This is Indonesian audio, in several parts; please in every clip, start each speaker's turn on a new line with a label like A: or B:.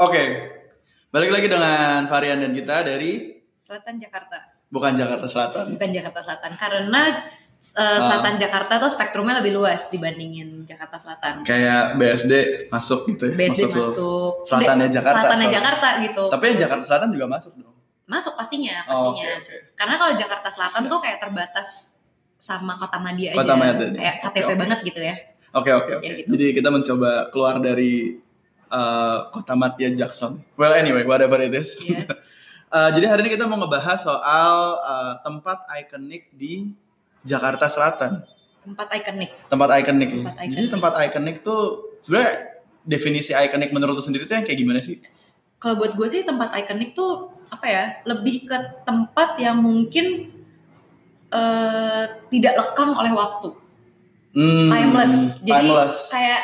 A: Oke, balik lagi dengan varian dan kita dari
B: Selatan Jakarta.
A: bukan Jakarta Selatan. Ah.
B: Bukan Jakarta Selatan karena eh, Selatan Jakarta tuh spektrumnya lebih luas dibandingin Jakarta Selatan.
A: Kayak BSD masuk gitu. ya,
B: BSD
A: tuh.
B: masuk.
A: Selatannya Jakarta,
B: Selatannya
A: sorry.
B: Jakarta gitu.
A: Tapi yang Jakarta Selatan juga masuk dong.
B: Masuk pastinya,
A: Oh,
B: pastinya.
A: oke. Ya.
B: Karena kalau Jakarta Selatan tuh kayak terbatas sama kota Madia
A: Kota
B: aja.
A: Madia.
B: Kayak
A: Oke,
B: KTP
A: oke.
B: banget gitu ya.
A: Oke oke oke.
B: Ya, gitu.
A: Jadi kita mencoba keluar dari eh, kota Matya Jackson. Well anyway, whatever it is.
B: Iya.
A: Eh, jadi hari ini kita mau ngebahas soal eh, tempat ikonik di Jakarta Selatan.
B: Tempat ikonik.
A: Tempat ikonik. ya.
B: Tempat ikonik.
A: Jadi tempat ikonik tuh sebenarnya definisi ikonik menurut lu sendiri tuh yang kayak gimana sih?
B: Kalau buat gue sih tempat ikonik tuh apa ya? Lebih ke tempat yang mungkin eh, tidak lekang oleh waktu.
A: Hmm,
B: Timeless. Jadi
A: timeless.
B: kayak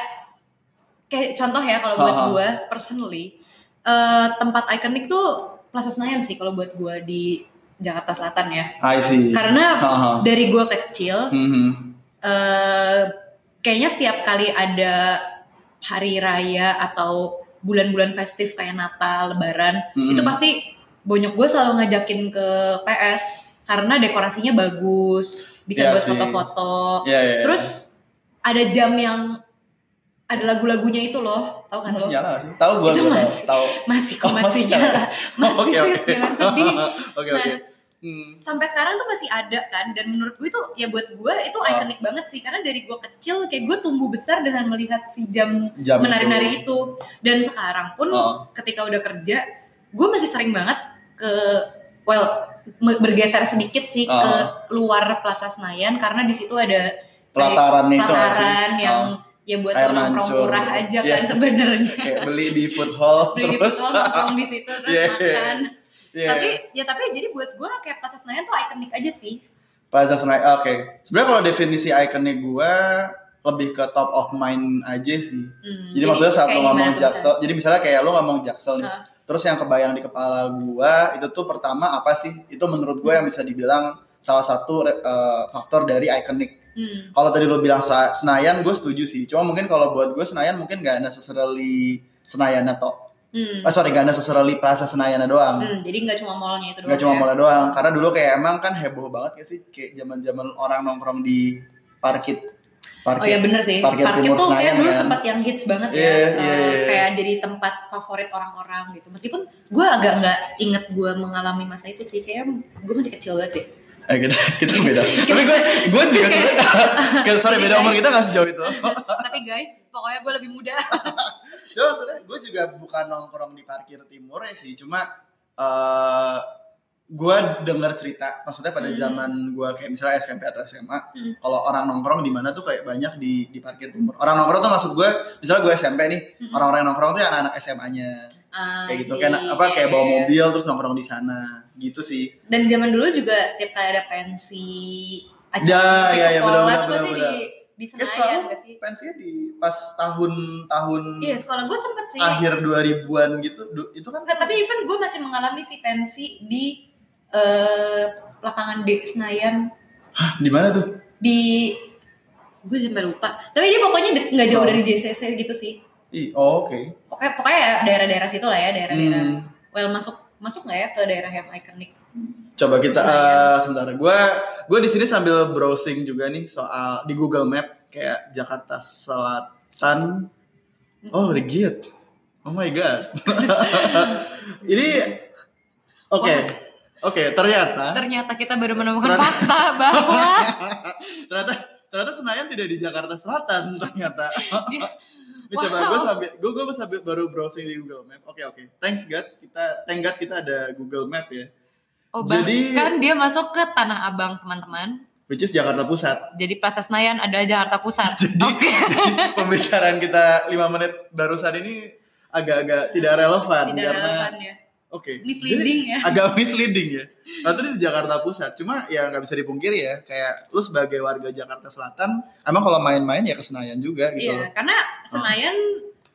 B: kayak contoh ya kalau buat
A: Ha, ha.
B: gue personally eh, tempat ikonik tuh Plaza Senayan sih kalau buat gue di Jakarta Selatan ya.
A: I see.
B: Karena
A: Haha.
B: dari gue kecil
A: Mhm.
B: eh, kayaknya setiap kali ada hari raya atau bulan-bulan festif kayak Natal, Lebaran,
A: Mhm.
B: itu pasti bonyok gue selalu ngajakin ke PS karena dekorasinya bagus, bisa
A: Iya
B: buat
A: sih.
B: foto-foto.
A: Iya, iya, iya.
B: Terus ada jam yang ada lagu-lagunya itu loh, tau kan lo?
A: masih nyala nggak sih? Tahu gua
B: Itu
A: gua tahu.
B: masih-
A: Tahu.
B: Masih kok
A: Oh,
B: masih
A: masih
B: nyala,
A: Oh,
B: masih
A: oke,
B: sis,
A: oke.
B: jangan sedih.
A: Oke
B: Nah.
A: oke. Hmm.
B: Sampai sekarang tuh masih ada kan, dan menurut gue itu ya buat gue itu
A: Ah.
B: ikonik banget sih, karena dari gue kecil kayak gue tumbuh besar dengan melihat si jam
A: Jam
B: menari-nari itu, dan sekarang pun
A: Oh.
B: ketika udah kerja, gue masih sering banget ke well me- bergeser sedikit sih ke
A: Ah.
B: luar Plaza Senayan karena di situ ada
A: pelataran itu nggak sih? Oh.
B: pelataran yang ya buat
A: Air
B: orang
A: mancur.
B: murah aja
A: Iya.
B: kan sebenarnya.
A: kayak beli di food hall
B: beli
A: terus
B: foto nongkrong di situ terus
A: Iya, iya.
B: makan.
A: Iya.
B: Tapi ya tapi jadi buat gue kayak Plaza Senayan tuh ikonik aja sih.
A: Plaza Senayan oke sebenarnya kalau definisi ikonnya gua lebih ke top of mind aja sih
B: Hmm,
A: jadi, maksudnya saat lo
B: kayak gimana
A: ngomong
B: tuh
A: jaksel jadi misalnya kayak lo ngomong jaksel nih
B: Ah.
A: terus yang kebayang di kepala gua itu tuh pertama apa sih itu menurut gua yang bisa dibilang salah satu re- eh, faktor dari ikonik
B: misalnya? Hmm.
A: kalau tadi lo bilang Sera- Senayan, gue setuju sih. Cuma mungkin kalau buat gue Senayan mungkin gak necessarily Senayan atau
B: Hmm.
A: ah, sorry gak necessarily Plaza Senayan doang.
B: Hmm, jadi nggak cuma mallnya itu doang.
A: Gak cuma
B: ya.
A: mall doang. Karena dulu kayak emang kan heboh banget ya sih kayak zaman-zaman orang nongkrong di parkit. Parkit.
B: Oh ya bener sih.
A: Parkir
B: Parkir,
A: Timur
B: tuh kayak
A: Senayan,
B: dulu
A: kan?
B: sempat yang hits banget ya.
A: Iya,
B: Eh,
A: iya, iya.
B: Kayak jadi tempat favorit orang-orang gitu. Meskipun gue agak nggak inget gue mengalami masa itu sih. Kayak gue masih kecil banget ya. deh.
A: Eh, kita, kita beda. Tapi gue gue juga sebenarnya. Kayak, sorry
B: Jadi
A: beda umur
B: guys.
A: kita gak sejauh itu.
B: Tapi guys, pokoknya gue lebih muda.
A: Cuma sebenarnya gue juga bukan nongkrong di parkir timur ya sih, cuma eh gue denger cerita, maksudnya pada
B: Hmm.
A: zaman gue kayak misalnya SMP atau SMA,
B: Hmm.
A: kalau orang nongkrong di mana tuh kayak banyak di di parkir timur. Orang nongkrong tuh maksud gue, misalnya gue SMP nih,
B: Mm-mm.
A: orang-orang yang nongkrong tuh yang anak-anak SMA-nya,
B: Hmm. Ah,
A: kayak gitu
B: sih,
A: kan, apa
B: iya,
A: kayak bawa
B: iya.
A: mobil terus nongkrong di sana, gitu sih.
B: Dan zaman dulu juga setiap kali ada pensi acara
A: Ya,
B: musik
A: iya, iya, benar,
B: sekolah tuh
A: benar,
B: pasti di
A: benar.
B: di
A: Kayak
B: Senayan
A: sekolah.
B: gak sih?
A: Pensinya di pas tahun-tahun
B: Iya, sekolah gue sempet sih.
A: akhir 2000-an gitu, du- itu kan
B: Nggak, tapi even gue masih mengalami si pensi di eh, lapangan D Senayan
A: Ah, di mana tuh?
B: di gue sampai lupa tapi dia pokoknya de- nggak jauh
A: Oh.
B: dari JCC gitu sih
A: Ih, oh, oke.
B: pokoknya pokoknya ya daerah-daerah situ lah ya
A: Hmm.
B: daerah-daerah well masuk masuk nggak ya ke daerah yang ikonik
A: Coba kita
B: Senayan.
A: eh, sebentar. Gue gue di sini sambil browsing juga nih soal di Google Map kayak Jakarta Selatan. Oh, Rigid. Oh my god. Ini oke. Oke, ternyata
B: ternyata kita baru
A: Ternyata-
B: menemukan fakta bahwa
A: ternyata ternyata Senayan tidak di Jakarta Selatan ternyata.
B: Dia-
A: Ini coba
B: Wow.
A: gue sambil gue gue sambil baru browsing di Google Map. Oke, oke. Thanks God, kita thank God kita ada Google Map ya.
B: oh
A: Jadi-
B: bahkan dia masuk ke Tanah Abang teman-teman
A: Which is Jakarta Pusat.
B: jadi Plaza Senayan adalah Jakarta Pusat
A: Jadi-
B: oke
A: pembicaraan kita 5 menit barusan ini agak-agak tidak relevan
B: tidak
A: karena
B: relevan ya
A: oke
B: misleading ya
A: Jadi, agak misleading ya Nah, itu di Jakarta Pusat cuma ya nggak bisa dipungkiri ya kayak lu sebagai warga Jakarta Selatan emang kalau main-main ya ke Senayan juga gitu
B: iya
A: loh
B: karena Senayan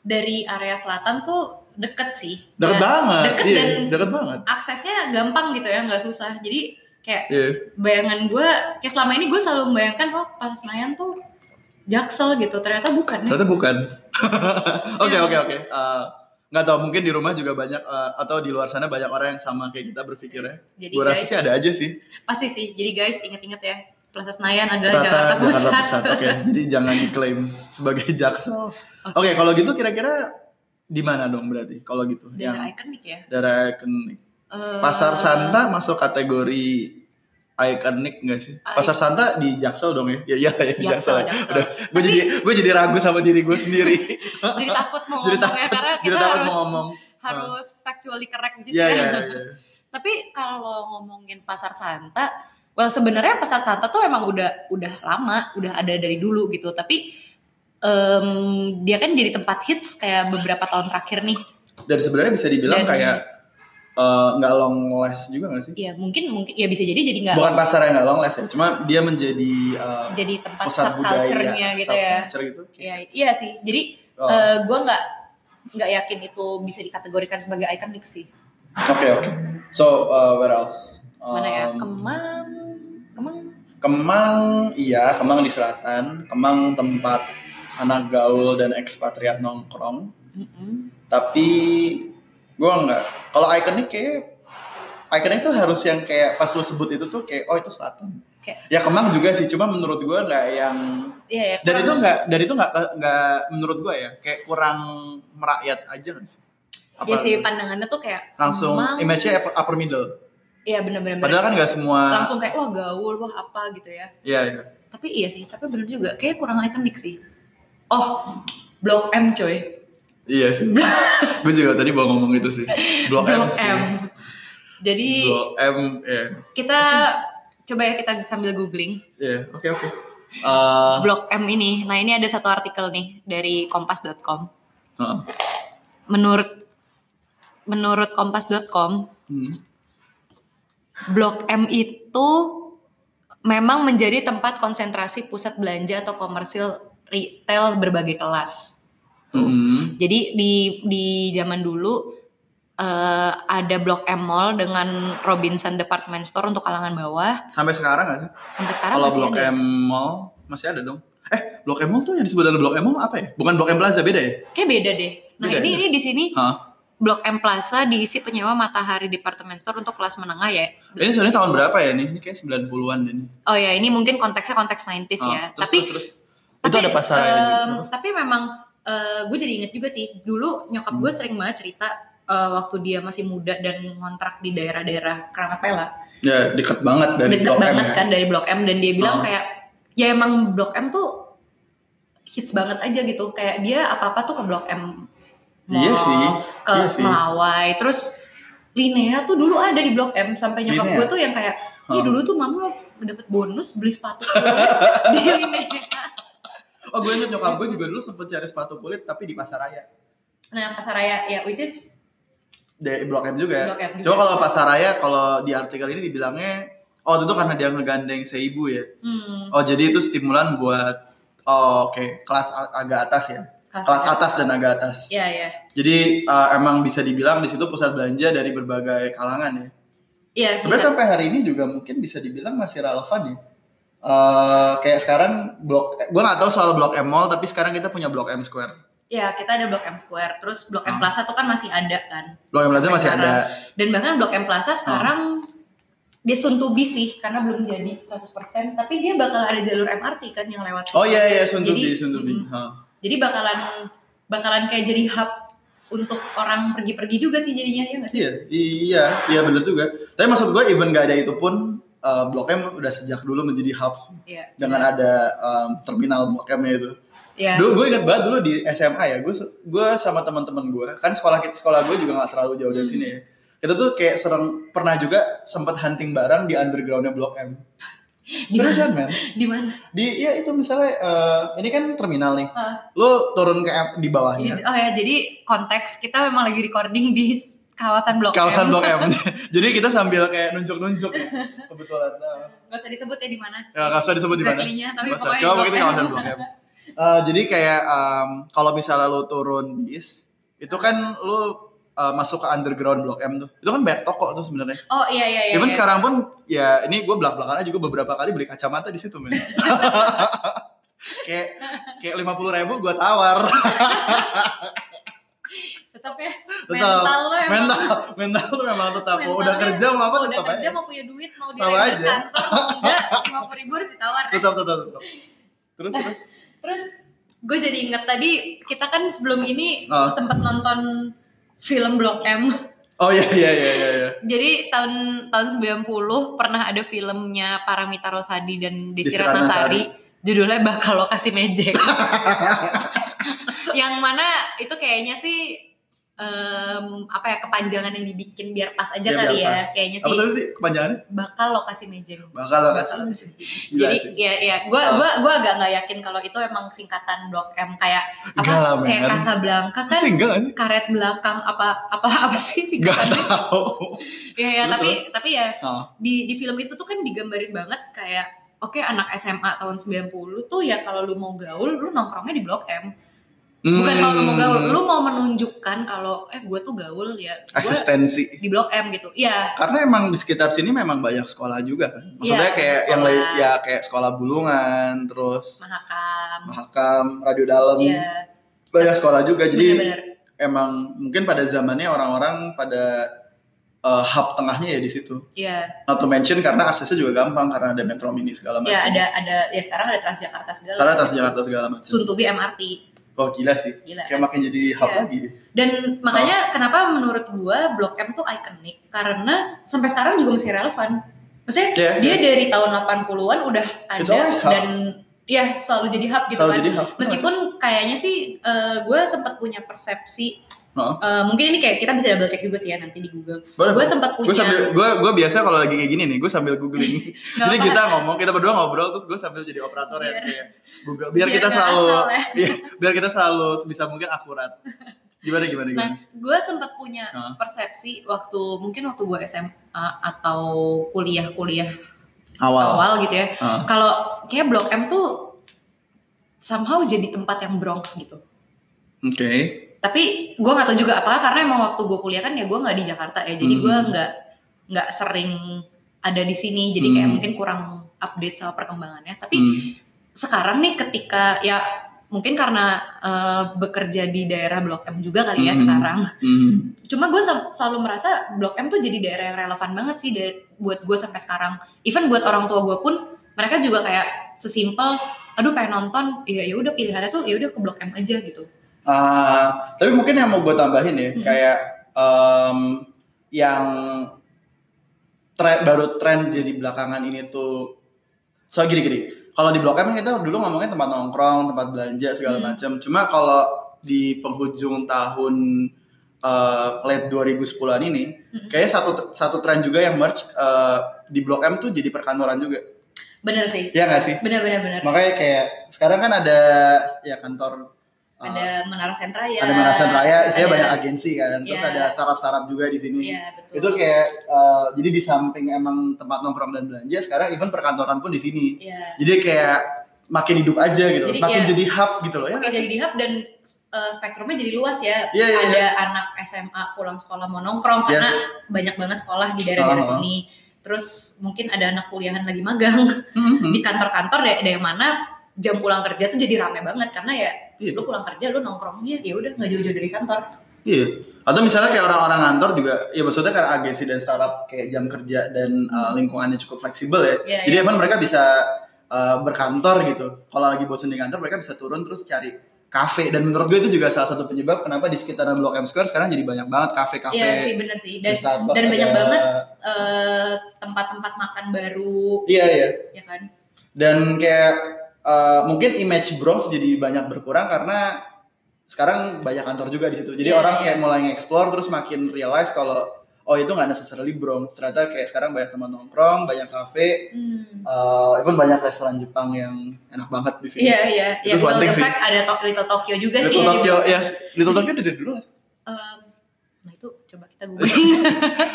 B: dari area selatan tuh deket sih
A: deket
B: Dan
A: banget
B: deket
A: iya
B: dan-
A: deket banget
B: aksesnya gampang gitu ya nggak susah jadi kayak
A: iya
B: bayangan gue kayak selama ini gue selalu membayangkan oh Plaza Senayan tuh jaksel gitu ternyata bukan ya
A: ternyata bukan oke
B: Iya.
A: oke oke Eh, nggak tahu mungkin di rumah juga banyak eh, atau di luar sana banyak orang yang sama kayak kita berpikirnya.
B: Jadi
A: Gue rasa
B: guys,
A: sih ada aja sih.
B: pasti sih. Jadi guys inget-inget ya, Plaza Senayan adalah Jakarta,
A: Ternyata Jakarta
B: Pusat.
A: Pusat. Oke, jadi jangan diklaim sebagai Jaksel. Oke,
B: Oke.
A: kalau gitu kira-kira di mana dong berarti kalau gitu?
B: Daerah
A: Yang
B: ikonik ya.
A: daerah ikonik.
B: Eh,
A: Pasar Santa masuk kategori ikonik nggak sih? Pasar Santa di Jaksel dong ya? Iya, iya, ya,
B: Jaksel,
A: Jaksel.
B: Jaksel.
A: Gue jadi gue jadi ragu sama diri gue sendiri.
B: Jadi takut mau
A: Jadi
B: ngomong ya karena
A: Jadi
B: kita
A: takut
B: harus
A: mau ngomong. Nah.
B: harus factually correct gitu
A: Iya,
B: ya.
A: iya, iya.
B: Tapi kalau ngomongin pasar Santa, well sebenarnya pasar Santa tuh emang udah udah lama, udah ada dari dulu gitu. Tapi em, dia kan jadi tempat hits kayak beberapa tahun terakhir nih.
A: Dan sebenarnya bisa dibilang
B: Dan-
A: kayak eh, nggak long last juga nggak sih?
B: Ya mungkin mungkin ya bisa jadi jadi nggak
A: Bukan pasar yang nggak long last ya, cuma dia menjadi eh,
B: jadi tempat
A: pusat budaya,
B: subculture-nya gitu ya.
A: subculture gitu.
B: Iya iya sih. Jadi
A: Oh, Oke
B: eh, gua nggak nggak yakin itu bisa dikategorikan sebagai ikonik sih.
A: oke. So uh, where else?
B: Mana ya?
A: Um,
B: Kemang, Kemang.
A: Kemang, iya Kemang di selatan. Kemang tempat anak gaul dan ekspatriat nongkrong.
B: Mm-mm.
A: Tapi gue nggak. Kalau ikonik kayak ikonik tuh harus yang kayak pas lo sebut itu tuh kayak oh itu selatan.
B: Kayak-
A: Ya Kemang juga sih, cuma menurut gue nggak yang
B: Iya ya.
A: dan
B: kurang-
A: itu nggak dan itu nggak nggak menurut gue ya kayak kurang merakyat aja kan sih.
B: Iya sih pandangannya tuh kayak
A: langsung
B: Kemang.
A: image-nya upper- upper middle.
B: Iya benar-benar.
A: Padahal kan nggak semua.
B: langsung kayak wah gaul wah apa gitu ya
A: Iya iya.
B: tapi iya sih tapi bener juga kayak kurang ikonik sih oh blok M coy
A: Iya sih. gue juga tadi mau ngomong itu sih. Blok, M.
B: blok
A: sih.
B: M jadi
A: Blok M. Iya.
B: kita coba ya kita sambil googling
A: Iya. Oke oke. Eh,
B: blok M ini nah ini ada satu artikel nih dari kompas.com
A: heeh.
B: menurut menurut kompas.com
A: Hmm.
B: blok M itu memang menjadi tempat konsentrasi pusat belanja atau komersil retail berbagai kelas Tuh.
A: Mm-mm.
B: Jadi di di zaman dulu eh, ada Blok M Mall dengan Robinson Department Store untuk kalangan bawah.
A: Sampai sekarang nggak sih?
B: Sampai sekarang
A: Kalau
B: masih
A: Blok
B: ada.
A: M Mall masih ada dong. Eh, Blok M Mall tuh yang disebut dalam Blok M Mall apa ya? Bukan Blok M Plaza beda ya?
B: Kayak beda deh. Nah,
A: Beda
B: ini
A: ya?
B: ini di sini
A: Hah?
B: Blok M Plaza diisi penyewa Matahari Department Store untuk kelas menengah ya.
A: Ini sebenarnya tahun berapa ya nih? Ini kayak 90-an deh nih.
B: Oh ya, ini mungkin konteksnya konteks 90s
A: Ah,
B: ya.
A: terus,
B: tapi
A: terus, terus. itu ada gitu. pasar
B: em, tapi memang eh, gue jadi inget juga sih dulu nyokap
A: Hmm.
B: gue sering banget cerita eh, waktu dia masih muda dan ngontrak di daerah-daerah Keramat Pela.
A: ya dekat banget dari
B: deket
A: Blok M
B: banget
A: ya.
B: kan dari Blok M dan dia bilang
A: Oh.
B: kayak ya emang Blok M tuh hits banget aja gitu kayak dia apa apa tuh ke Blok M Mall,
A: Iya sih.
B: ke
A: iya sih.
B: Melawai terus Linea tuh dulu ada di Blok M sampai nyokap
A: Linea?
B: gue tuh yang kayak iya
A: Oh.
B: dulu tuh mama dapat bonus beli sepatu kulit di Linea
A: Oh, gue ingat nyokap gue juga dulu sempet cari sepatu kulit tapi di Pasaraya.
B: nah Pasaraya ya which is
A: Di Blok M juga.
B: Blok M juga.
A: Coba kalau Pasaraya kalau di artikel ini dibilangnya oh itu tuh karena dia ngegandeng seibu ya.
B: hmm,
A: Oh jadi itu stimulan buat oh, oke kelas a- agak atas ya. Kelas atas dan agak atas.
B: ya ya
A: Jadi uh, emang bisa dibilang di situ pusat belanja dari berbagai kalangan ya.
B: ya
A: Sebenarnya
B: bisa.
A: sampai hari ini juga mungkin bisa dibilang masih relevan ya. Eh, kayak sekarang blok, gue nggak tahu soal blok M Mall tapi sekarang kita punya blok M Square.
B: ya kita ada Blok M Square terus Blok
A: Ah.
B: M Plaza tuh kan masih ada kan
A: Blok M Plaza
B: Sampai
A: masih ada.
B: dan bahkan Blok M Plaza
A: Ah.
B: sekarang dia suntubi sih karena belum jadi 100% tapi dia bakal ada jalur MRT kan yang lewat
A: Oh iya iya Suntubi
B: Jadi,
A: Suntubi.
B: mm,
A: Hah.
B: jadi bakalan bakalan kayak jadi hub untuk orang pergi-pergi juga sih jadinya ya nggak sih
A: Iya, iya, iya bener juga. Tapi maksud gue even gak ada itu pun eh, Blok M udah sejak dulu menjadi hub sih.
B: Iya.
A: Dengan ada em, terminal Blok M-nya itu.
B: Iya.
A: Dulu gue ingat banget dulu di SMA ya, gue se- gue sama teman-teman gue, kan sekolah kita sekolah gue juga gak terlalu jauh dari
B: Hmm.
A: sini ya. Kita tuh kayak sering pernah juga sempat hunting barang di undergroundnya Blok M. Seriusan men?
B: di mana
A: Di ya itu misalnya eh, ini kan terminal nih.
B: Hah.
A: Lo turun ke M- di bawahnya.
B: Jadi- oh ya jadi konteks kita memang lagi recording di s- kawasan Blok
A: kawasan
B: M
A: Blok M. Jadi kita sambil kayak nunjuk-nunjuk ya, kebetulan. Nah,
B: nggak usah disebut ya di mana
A: Ya, nggak usah disebut di mana. gitu
B: Exactly-nya, tapi
A: Nggak usah.
B: pokoknya ya.
A: Coba
B: di
A: kita
B: Blok
A: kawasan
B: M.
A: Blok M. Eh, jadi kayak em, kalau misalnya lu turun bis, itu kan lu eh, masuk ke underground Blok M tuh. Itu kan banyak toko tuh sebenarnya.
B: oh iya iya iya,
A: Even
B: iya.
A: sekarang pun ya ini gue belak-belakannya juga beberapa kali beli kacamata di situ men. kayak kayak lima puluh ribu gue tawar.
B: tetap ya
A: Tetap.
B: mental lo emang
A: mental mental tuh memang tetap mau udah
B: Mentalnya,
A: kerja mau apa
B: mau udah
A: tetap
B: kerja
A: aja
B: mau punya duit mau
A: Sama
B: direnggas
A: aja.
B: kantor mau enggak lima ribu harus ditawar ya.
A: eh. tetap tetap tetap terus terus
B: terus gue jadi inget tadi kita kan sebelum ini
A: Oh.
B: sempet nonton film Blok M
A: oh iya iya iya iya iya.
B: jadi tahun tahun 90 pernah ada filmnya Paramita Rosadi dan Desi
A: Desi Ratnasari.
B: Ratnasari judulnya bakal lokasi mejek yang mana itu kayaknya sih em, apa ya kepanjangan yang dibikin biar pas aja
A: Dia bilang
B: kali ya
A: pas.
B: kayaknya
A: Iya, apa
B: sih
A: tadi Ti? kepanjangannya
B: bakal lokasi mejeng.
A: bakal lo kasih
B: Bakal.
A: Gila
B: Jadi
A: sih.
B: ya ya gua
A: Oh.
B: gua gua agak nggak yakin kalau itu emang singkatan Blok M kayak apa
A: Enggak lah,
B: kayak
A: men.
B: Casablanca kan
A: Pasti enggak gak sih
B: karet belakang apa apa apa sih
A: Enggak
B: singkatannya?
A: tahu
B: Iya ya,
A: Terus,
B: tapi tapi ya
A: Oh.
B: di di film itu tuh kan digambarin banget kayak oke anak SMA tahun 90 tuh ya kalau lu mau gaul lu nongkrongnya di Blok M. Bukan kalau lu mau
A: Hmm.
B: gaul, lu mau menunjukkan kalau eh gue tuh gaul ya gue
A: eksistensi
B: di Blok M gitu. Iya,
A: karena emang di sekitar sini memang banyak sekolah juga kan maksudnya kayak
B: Iya, sekolah.
A: yang lain ya kayak sekolah bulungan terus
B: mahakam.
A: mahakam radio dalam
B: Iya,
A: banyak sekolah juga jadi
B: benar-benar.
A: emang mungkin pada zamannya orang-orang pada eh, hub tengahnya ya di situ.
B: Iya.
A: Not to mention karena aksesnya juga gampang karena ada metro mini segala macam.
B: Ya ada ada ya sekarang ada Transjakarta segala.
A: Sekarang Transjakarta segala macam.
B: Suntubi MRT.
A: Oh gila sih.
B: Gila.
A: Kayak makin jadi hub
B: Iya.
A: lagi.
B: Dan
A: Oh.
B: makanya kenapa menurut gua Blok M tuh ikonik karena sampai sekarang juga masih relevan. Maksudnya
A: Iya,
B: dia dari tahun 80-an udah
A: It's
B: ada
A: always hub.
B: dan ya selalu jadi hub gitu
A: Selalu
B: kan.
A: jadi hub.
B: Meskipun kayaknya sih gue sempat punya persepsi
A: Heeh.
B: eh, mungkin ini kayak kita bisa double check juga sih ya nanti di Google.
A: Boleh.
B: Gue sempat
A: Gue sambil
B: punya
A: gue gue biasa kalau lagi kayak gini nih, gue sambil googling. jadi
B: nggak apa-apa,
A: kita ngomong, kita berdua ngobrol terus gue sambil jadi operator ya
B: Biar-
A: kayak Google biar, kita
B: nggak
A: selalu
B: asal ya.
A: iya, biar kita selalu sebisa mungkin akurat. Gimana gimana
B: Nah,
A: gimana?
B: gue sempat punya
A: Hah?
B: persepsi waktu mungkin waktu gue SMA atau kuliah-kuliah
A: Awal. Ah,
B: awal gitu ya.
A: Heeh.
B: Kalau kayak Blok M tuh somehow jadi tempat yang Bronx gitu.
A: Oke.
B: Tapi gue gak tau juga apa karena emang waktu gue kuliah kan ya gue nggak di Jakarta ya. Jadi gue
A: Hmm.
B: nggak nggak sering ada di sini. Jadi kayak
A: Hmm.
B: mungkin kurang update sama perkembangannya. Tapi
A: Hmm.
B: sekarang nih ketika ya mungkin karena eh, bekerja di daerah Blok M juga kali ya
A: Hmm.
B: sekarang
A: Hmm.
B: cuma gue sel- selalu merasa Blok M tuh jadi daerah yang relevan banget sih dari- buat gue sampai sekarang even buat orang tua gue pun mereka juga kayak sesimpel aduh pengen nonton ya ya udah pilihannya tuh ya udah ke Blok M aja gitu
A: Ah, tapi mungkin yang mau gue tambahin ya,
B: Mm.
A: kayak em, yang tren baru tren jadi belakangan ini tuh so gini gini. Kalau di Blok M kan kita dulu ngomongnya tempat nongkrong, tempat belanja segala
B: Mm.
A: macam. Cuma kalau di penghujung tahun eh, late 2010-an ini,
B: Mm.
A: kayaknya satu satu tren juga yang merge eh, di Blok M tuh jadi perkantoran juga.
B: bener sih
A: Iya nggak sih?
B: bener bener bener
A: Makanya kayak sekarang kan ada ya kantor eh,
B: ada Menara Sentraya
A: ada Manasan Raya,
B: terus
A: isinya
B: Iya. ada-
A: banyak agensi kan. Terus
B: Iya.
A: ada startup-startup juga di sini.
B: iya betul
A: Itu kayak eh, jadi di samping emang tempat nongkrong dan belanja, sekarang even perkantoran pun di sini.
B: Iya.
A: Jadi kayak makin hidup aja gitu,
B: Jadi
A: makin
B: kayak-
A: jadi hub gitu loh ya.
B: Oke, jadi di hub dan eh, spektrumnya jadi luas ya
A: Iya, iya,
B: ada
A: iya.
B: anak SMA pulang sekolah mau nongkrong karena
A: Yes.
B: banyak banget sekolah di daerah-daerah
A: Oh.
B: sini terus mungkin ada anak kuliahan lagi magang
A: Mhm.
B: di kantor-kantor ya ada yang mana jam pulang kerja tuh jadi rame banget karena ya
A: Iya.
B: lu pulang kerja lu nongkrongnya ya udah nggak jauh-jauh dari kantor
A: Iya. Atau misalnya kayak orang-orang kantor juga, ya maksudnya karena agensi dan startup kayak jam kerja dan eh, lingkungannya cukup fleksibel ya.
B: Iya,
A: jadi
B: iya.
A: even mereka bisa eh, berkantor gitu. Kalau lagi bosen di kantor, mereka bisa turun terus cari kafe. Dan menurut gue itu juga salah satu penyebab kenapa di sekitaran Blok M Square sekarang jadi banyak banget kafe-kafe.
B: Iya sih bener sih
A: di
B: dan
A: Starbucks
B: dan banyak
A: ada.
B: banget. eh, tempat-tempat makan baru
A: Iya iya.
B: ya kan
A: Dan kayak eh, mungkin image Bronx jadi banyak berkurang karena sekarang banyak kantor juga di situ. Jadi
B: Iya,
A: orang
B: iya.
A: kayak mulai nge-explore terus makin realize kalau oh itu nggak necessarily Bronx. Ternyata kayak sekarang banyak teman nongkrong, banyak kafe,
B: Hmm.
A: eh, even banyak restoran Jepang yang enak banget di sini.
B: iya iya
A: Itu
B: ya
A: one
B: Little
A: thing
B: The
A: sih.
B: Fact ada to- Little Tokyo juga sih
A: Little
B: ya di
A: Tokyo, iya.
B: Blok M.
A: yes. Little Tokyo udah dari dulu gak sih?
B: Em, nah itu coba kita googling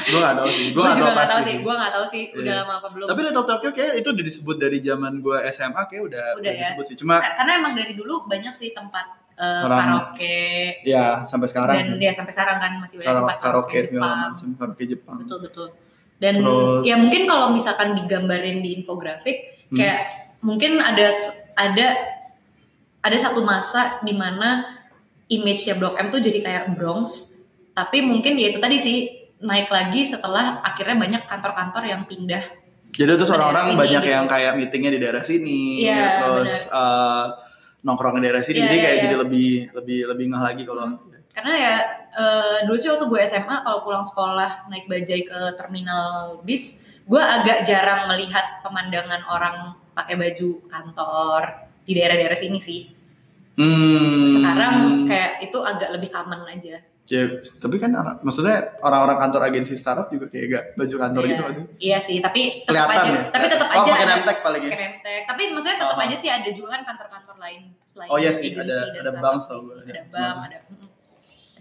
A: Gue gak tau sih, gue
B: gue
A: gak tau
B: juga nggak tahu
A: pasti
B: sih gue nggak tahu sih udah
A: Iya.
B: lama apa belum
A: Tapi Little Tokyo kayak itu udah disebut dari zaman gue SMA kayak udah,
B: Udah
A: udah
B: ya.
A: disebut sih Cuma
B: Ka- karena emang dari dulu banyak sih tempat eh,
A: Orang-
B: karaoke
A: ya sampai sekarang
B: dan
A: sih.
B: dia sampai sekarang kan masih banyak
A: Karo-
B: tempat
A: karaoke
B: karaoke
A: segala
B: Jepang
A: macam karaoke Jepang
B: betul betul dan
A: Terus-
B: ya mungkin kalau misalkan digambarin di infografik
A: Hmm.
B: kayak mungkin ada s- ada ada satu masa di mana image-nya Blok M tuh jadi kayak Bronx Tapi mungkin ya itu tadi sih naik lagi setelah akhirnya banyak kantor-kantor yang pindah.
A: Jadi terus
B: Daerah
A: orang-orang
B: sini
A: banyak
B: gitu.
A: yang kayak meetingnya di daerah sini,
B: Iya,
A: terus eh, nongkrong di daerah sini,
B: Iya,
A: jadi
B: iya,
A: kayak
B: iya.
A: jadi lebih lebih lebih ngeh lagi kalau
B: Karena ya eh, dulu sih waktu gue SMA kalau pulang sekolah naik bajai ke terminal bis, gue agak jarang melihat pemandangan orang pakai baju kantor di daerah-daerah sini sih.
A: Hmm.
B: Sekarang kayak itu agak lebih common aja.
A: Ya, tapi kan orang- maksudnya orang-orang kantor agensi startup juga kayak gak baju kantor
B: Iya.
A: gitu masih
B: Iya sih, tapi tetap
A: kelihatan
B: aja,
A: ya.
B: tapi tetap
A: oh,
B: aja
A: pakai
B: ada-
A: nemtek paling ya.
B: pakai nemtek. Tapi maksudnya tetap
A: Aha.
B: aja sih ada juga kan kantor-kantor lain selain
A: Oh iya sih,
B: agency
A: ada-
B: dan
A: ada
B: startup
A: bank
B: sih.
A: setahu gue, ada.
B: Ada bank, ada mm, ada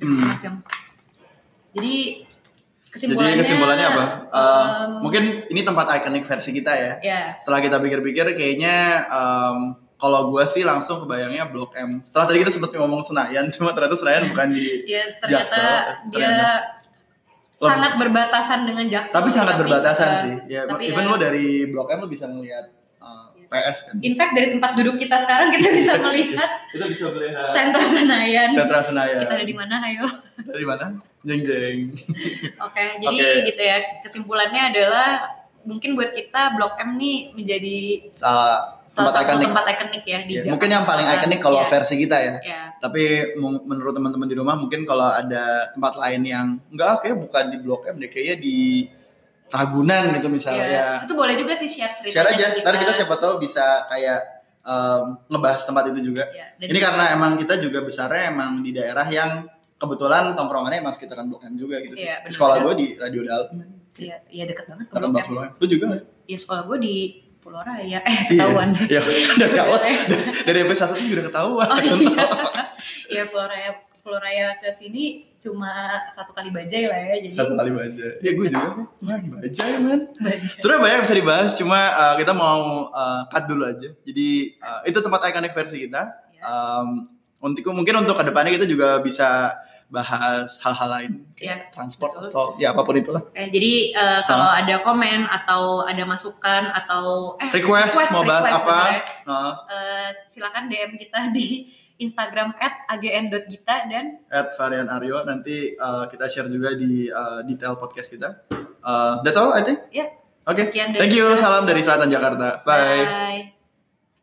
A: Hmm.
B: macam. Jadi kesimpulannya
A: Jadi kesimpulannya apa? Eh,
B: em,
A: mungkin ini tempat ikonik versi kita ya.
B: ya
A: Setelah kita pikir-pikir kayaknya em, kalau gua sih langsung kebayangnya Blok M. Setelah tadi kita sempat ngomong Senayan, cuma ternyata Senayan bukan di
B: ya ternyata
A: Jaksel,
B: dia
A: ternyata.
B: sangat berbatasan dengan jaksa
A: tapi sangat berbatasan sih. Ya,
B: tapi
A: even
B: ya-
A: lo dari Blok M lo bisa ngelihat eh,
B: Iya.
A: PS kan.
B: in fact dari tempat duduk kita sekarang kita bisa melihat
A: Kita bisa melihat
B: sentra Senayan
A: Sentra
B: kita ada
A: Senayan.
B: di mana ayo
A: Dari mana? Jeng jeng.
B: Oke, jadi
A: Oke.
B: gitu ya. Kesimpulannya adalah mungkin buat kita Blok M nih menjadi
A: Salah
B: salah
A: tempat
B: satu
A: ikonik.
B: tempat ikonik ya di
A: Ya,
B: Jakarta.
A: mungkin yang paling ikonik kalau
B: Iya,
A: versi kita ya.
B: iya.
A: Tapi mu- menurut teman-teman di rumah mungkin kalau ada tempat lain yang enggak kayak bukan di Blok M deh, kayaknya di Ragunan gitu misalnya.
B: Iya. Itu boleh juga sih share
A: Ya,
B: cerita.
A: share aja. Ntar kita siapa tahu bisa kayak em, ngebahas tempat itu juga.
B: Iya,
A: Ini karena emang kita juga besarnya emang di daerah yang kebetulan tongkrongannya emang sekitaran Blok M juga gitu sih.
B: Iya, benar.
A: Sekolah gue di Radio Dal.
B: Iya, iya deket banget ke
A: Dapat
B: Blok
A: Bang
B: M.
A: Sulaiman. Lu juga nggak sih?
B: Iya, sekolah gue di Pulau Raya. Eh, ketahuan.
A: Iya. Dari awal
B: Pulau Raya.
A: dari episode satu juga udah ketahuan.
B: Oh iya. Iya, Pulau Raya. Pulau Raya ke sini cuma satu kali bajai lah ya. Jadi
A: Satu kali baca. Ya gue juga sih. Wah, baca ya man.
B: bajai.
A: Sebenarnya banyak yang bisa dibahas, cuma uh, kita mau uh, cut dulu aja. Jadi uh, itu tempat ikonik versi kita.
B: Iya.
A: Um, untuk mungkin untuk kedepannya kita juga bisa bahas hal-hal lain kayak transport
B: iya. betul.
A: atau ya apapun itulah.
B: Eh, jadi eh, kalau ada komen atau ada masukan atau eh,
A: Request, mau bahas
B: request
A: apa?
B: sebenarnya.
A: Nah,
B: Eh, silakan DM kita di Instagram @agn.gita dan
A: at varian Aryo nanti uh, kita share juga di uh, detail podcast kita. Uh, that's all I think.
B: Ya.
A: Oke.
B: sekian dari
A: Thank you.
B: kita.
A: Salam dari Selatan Jakarta. Bye.
B: Bye.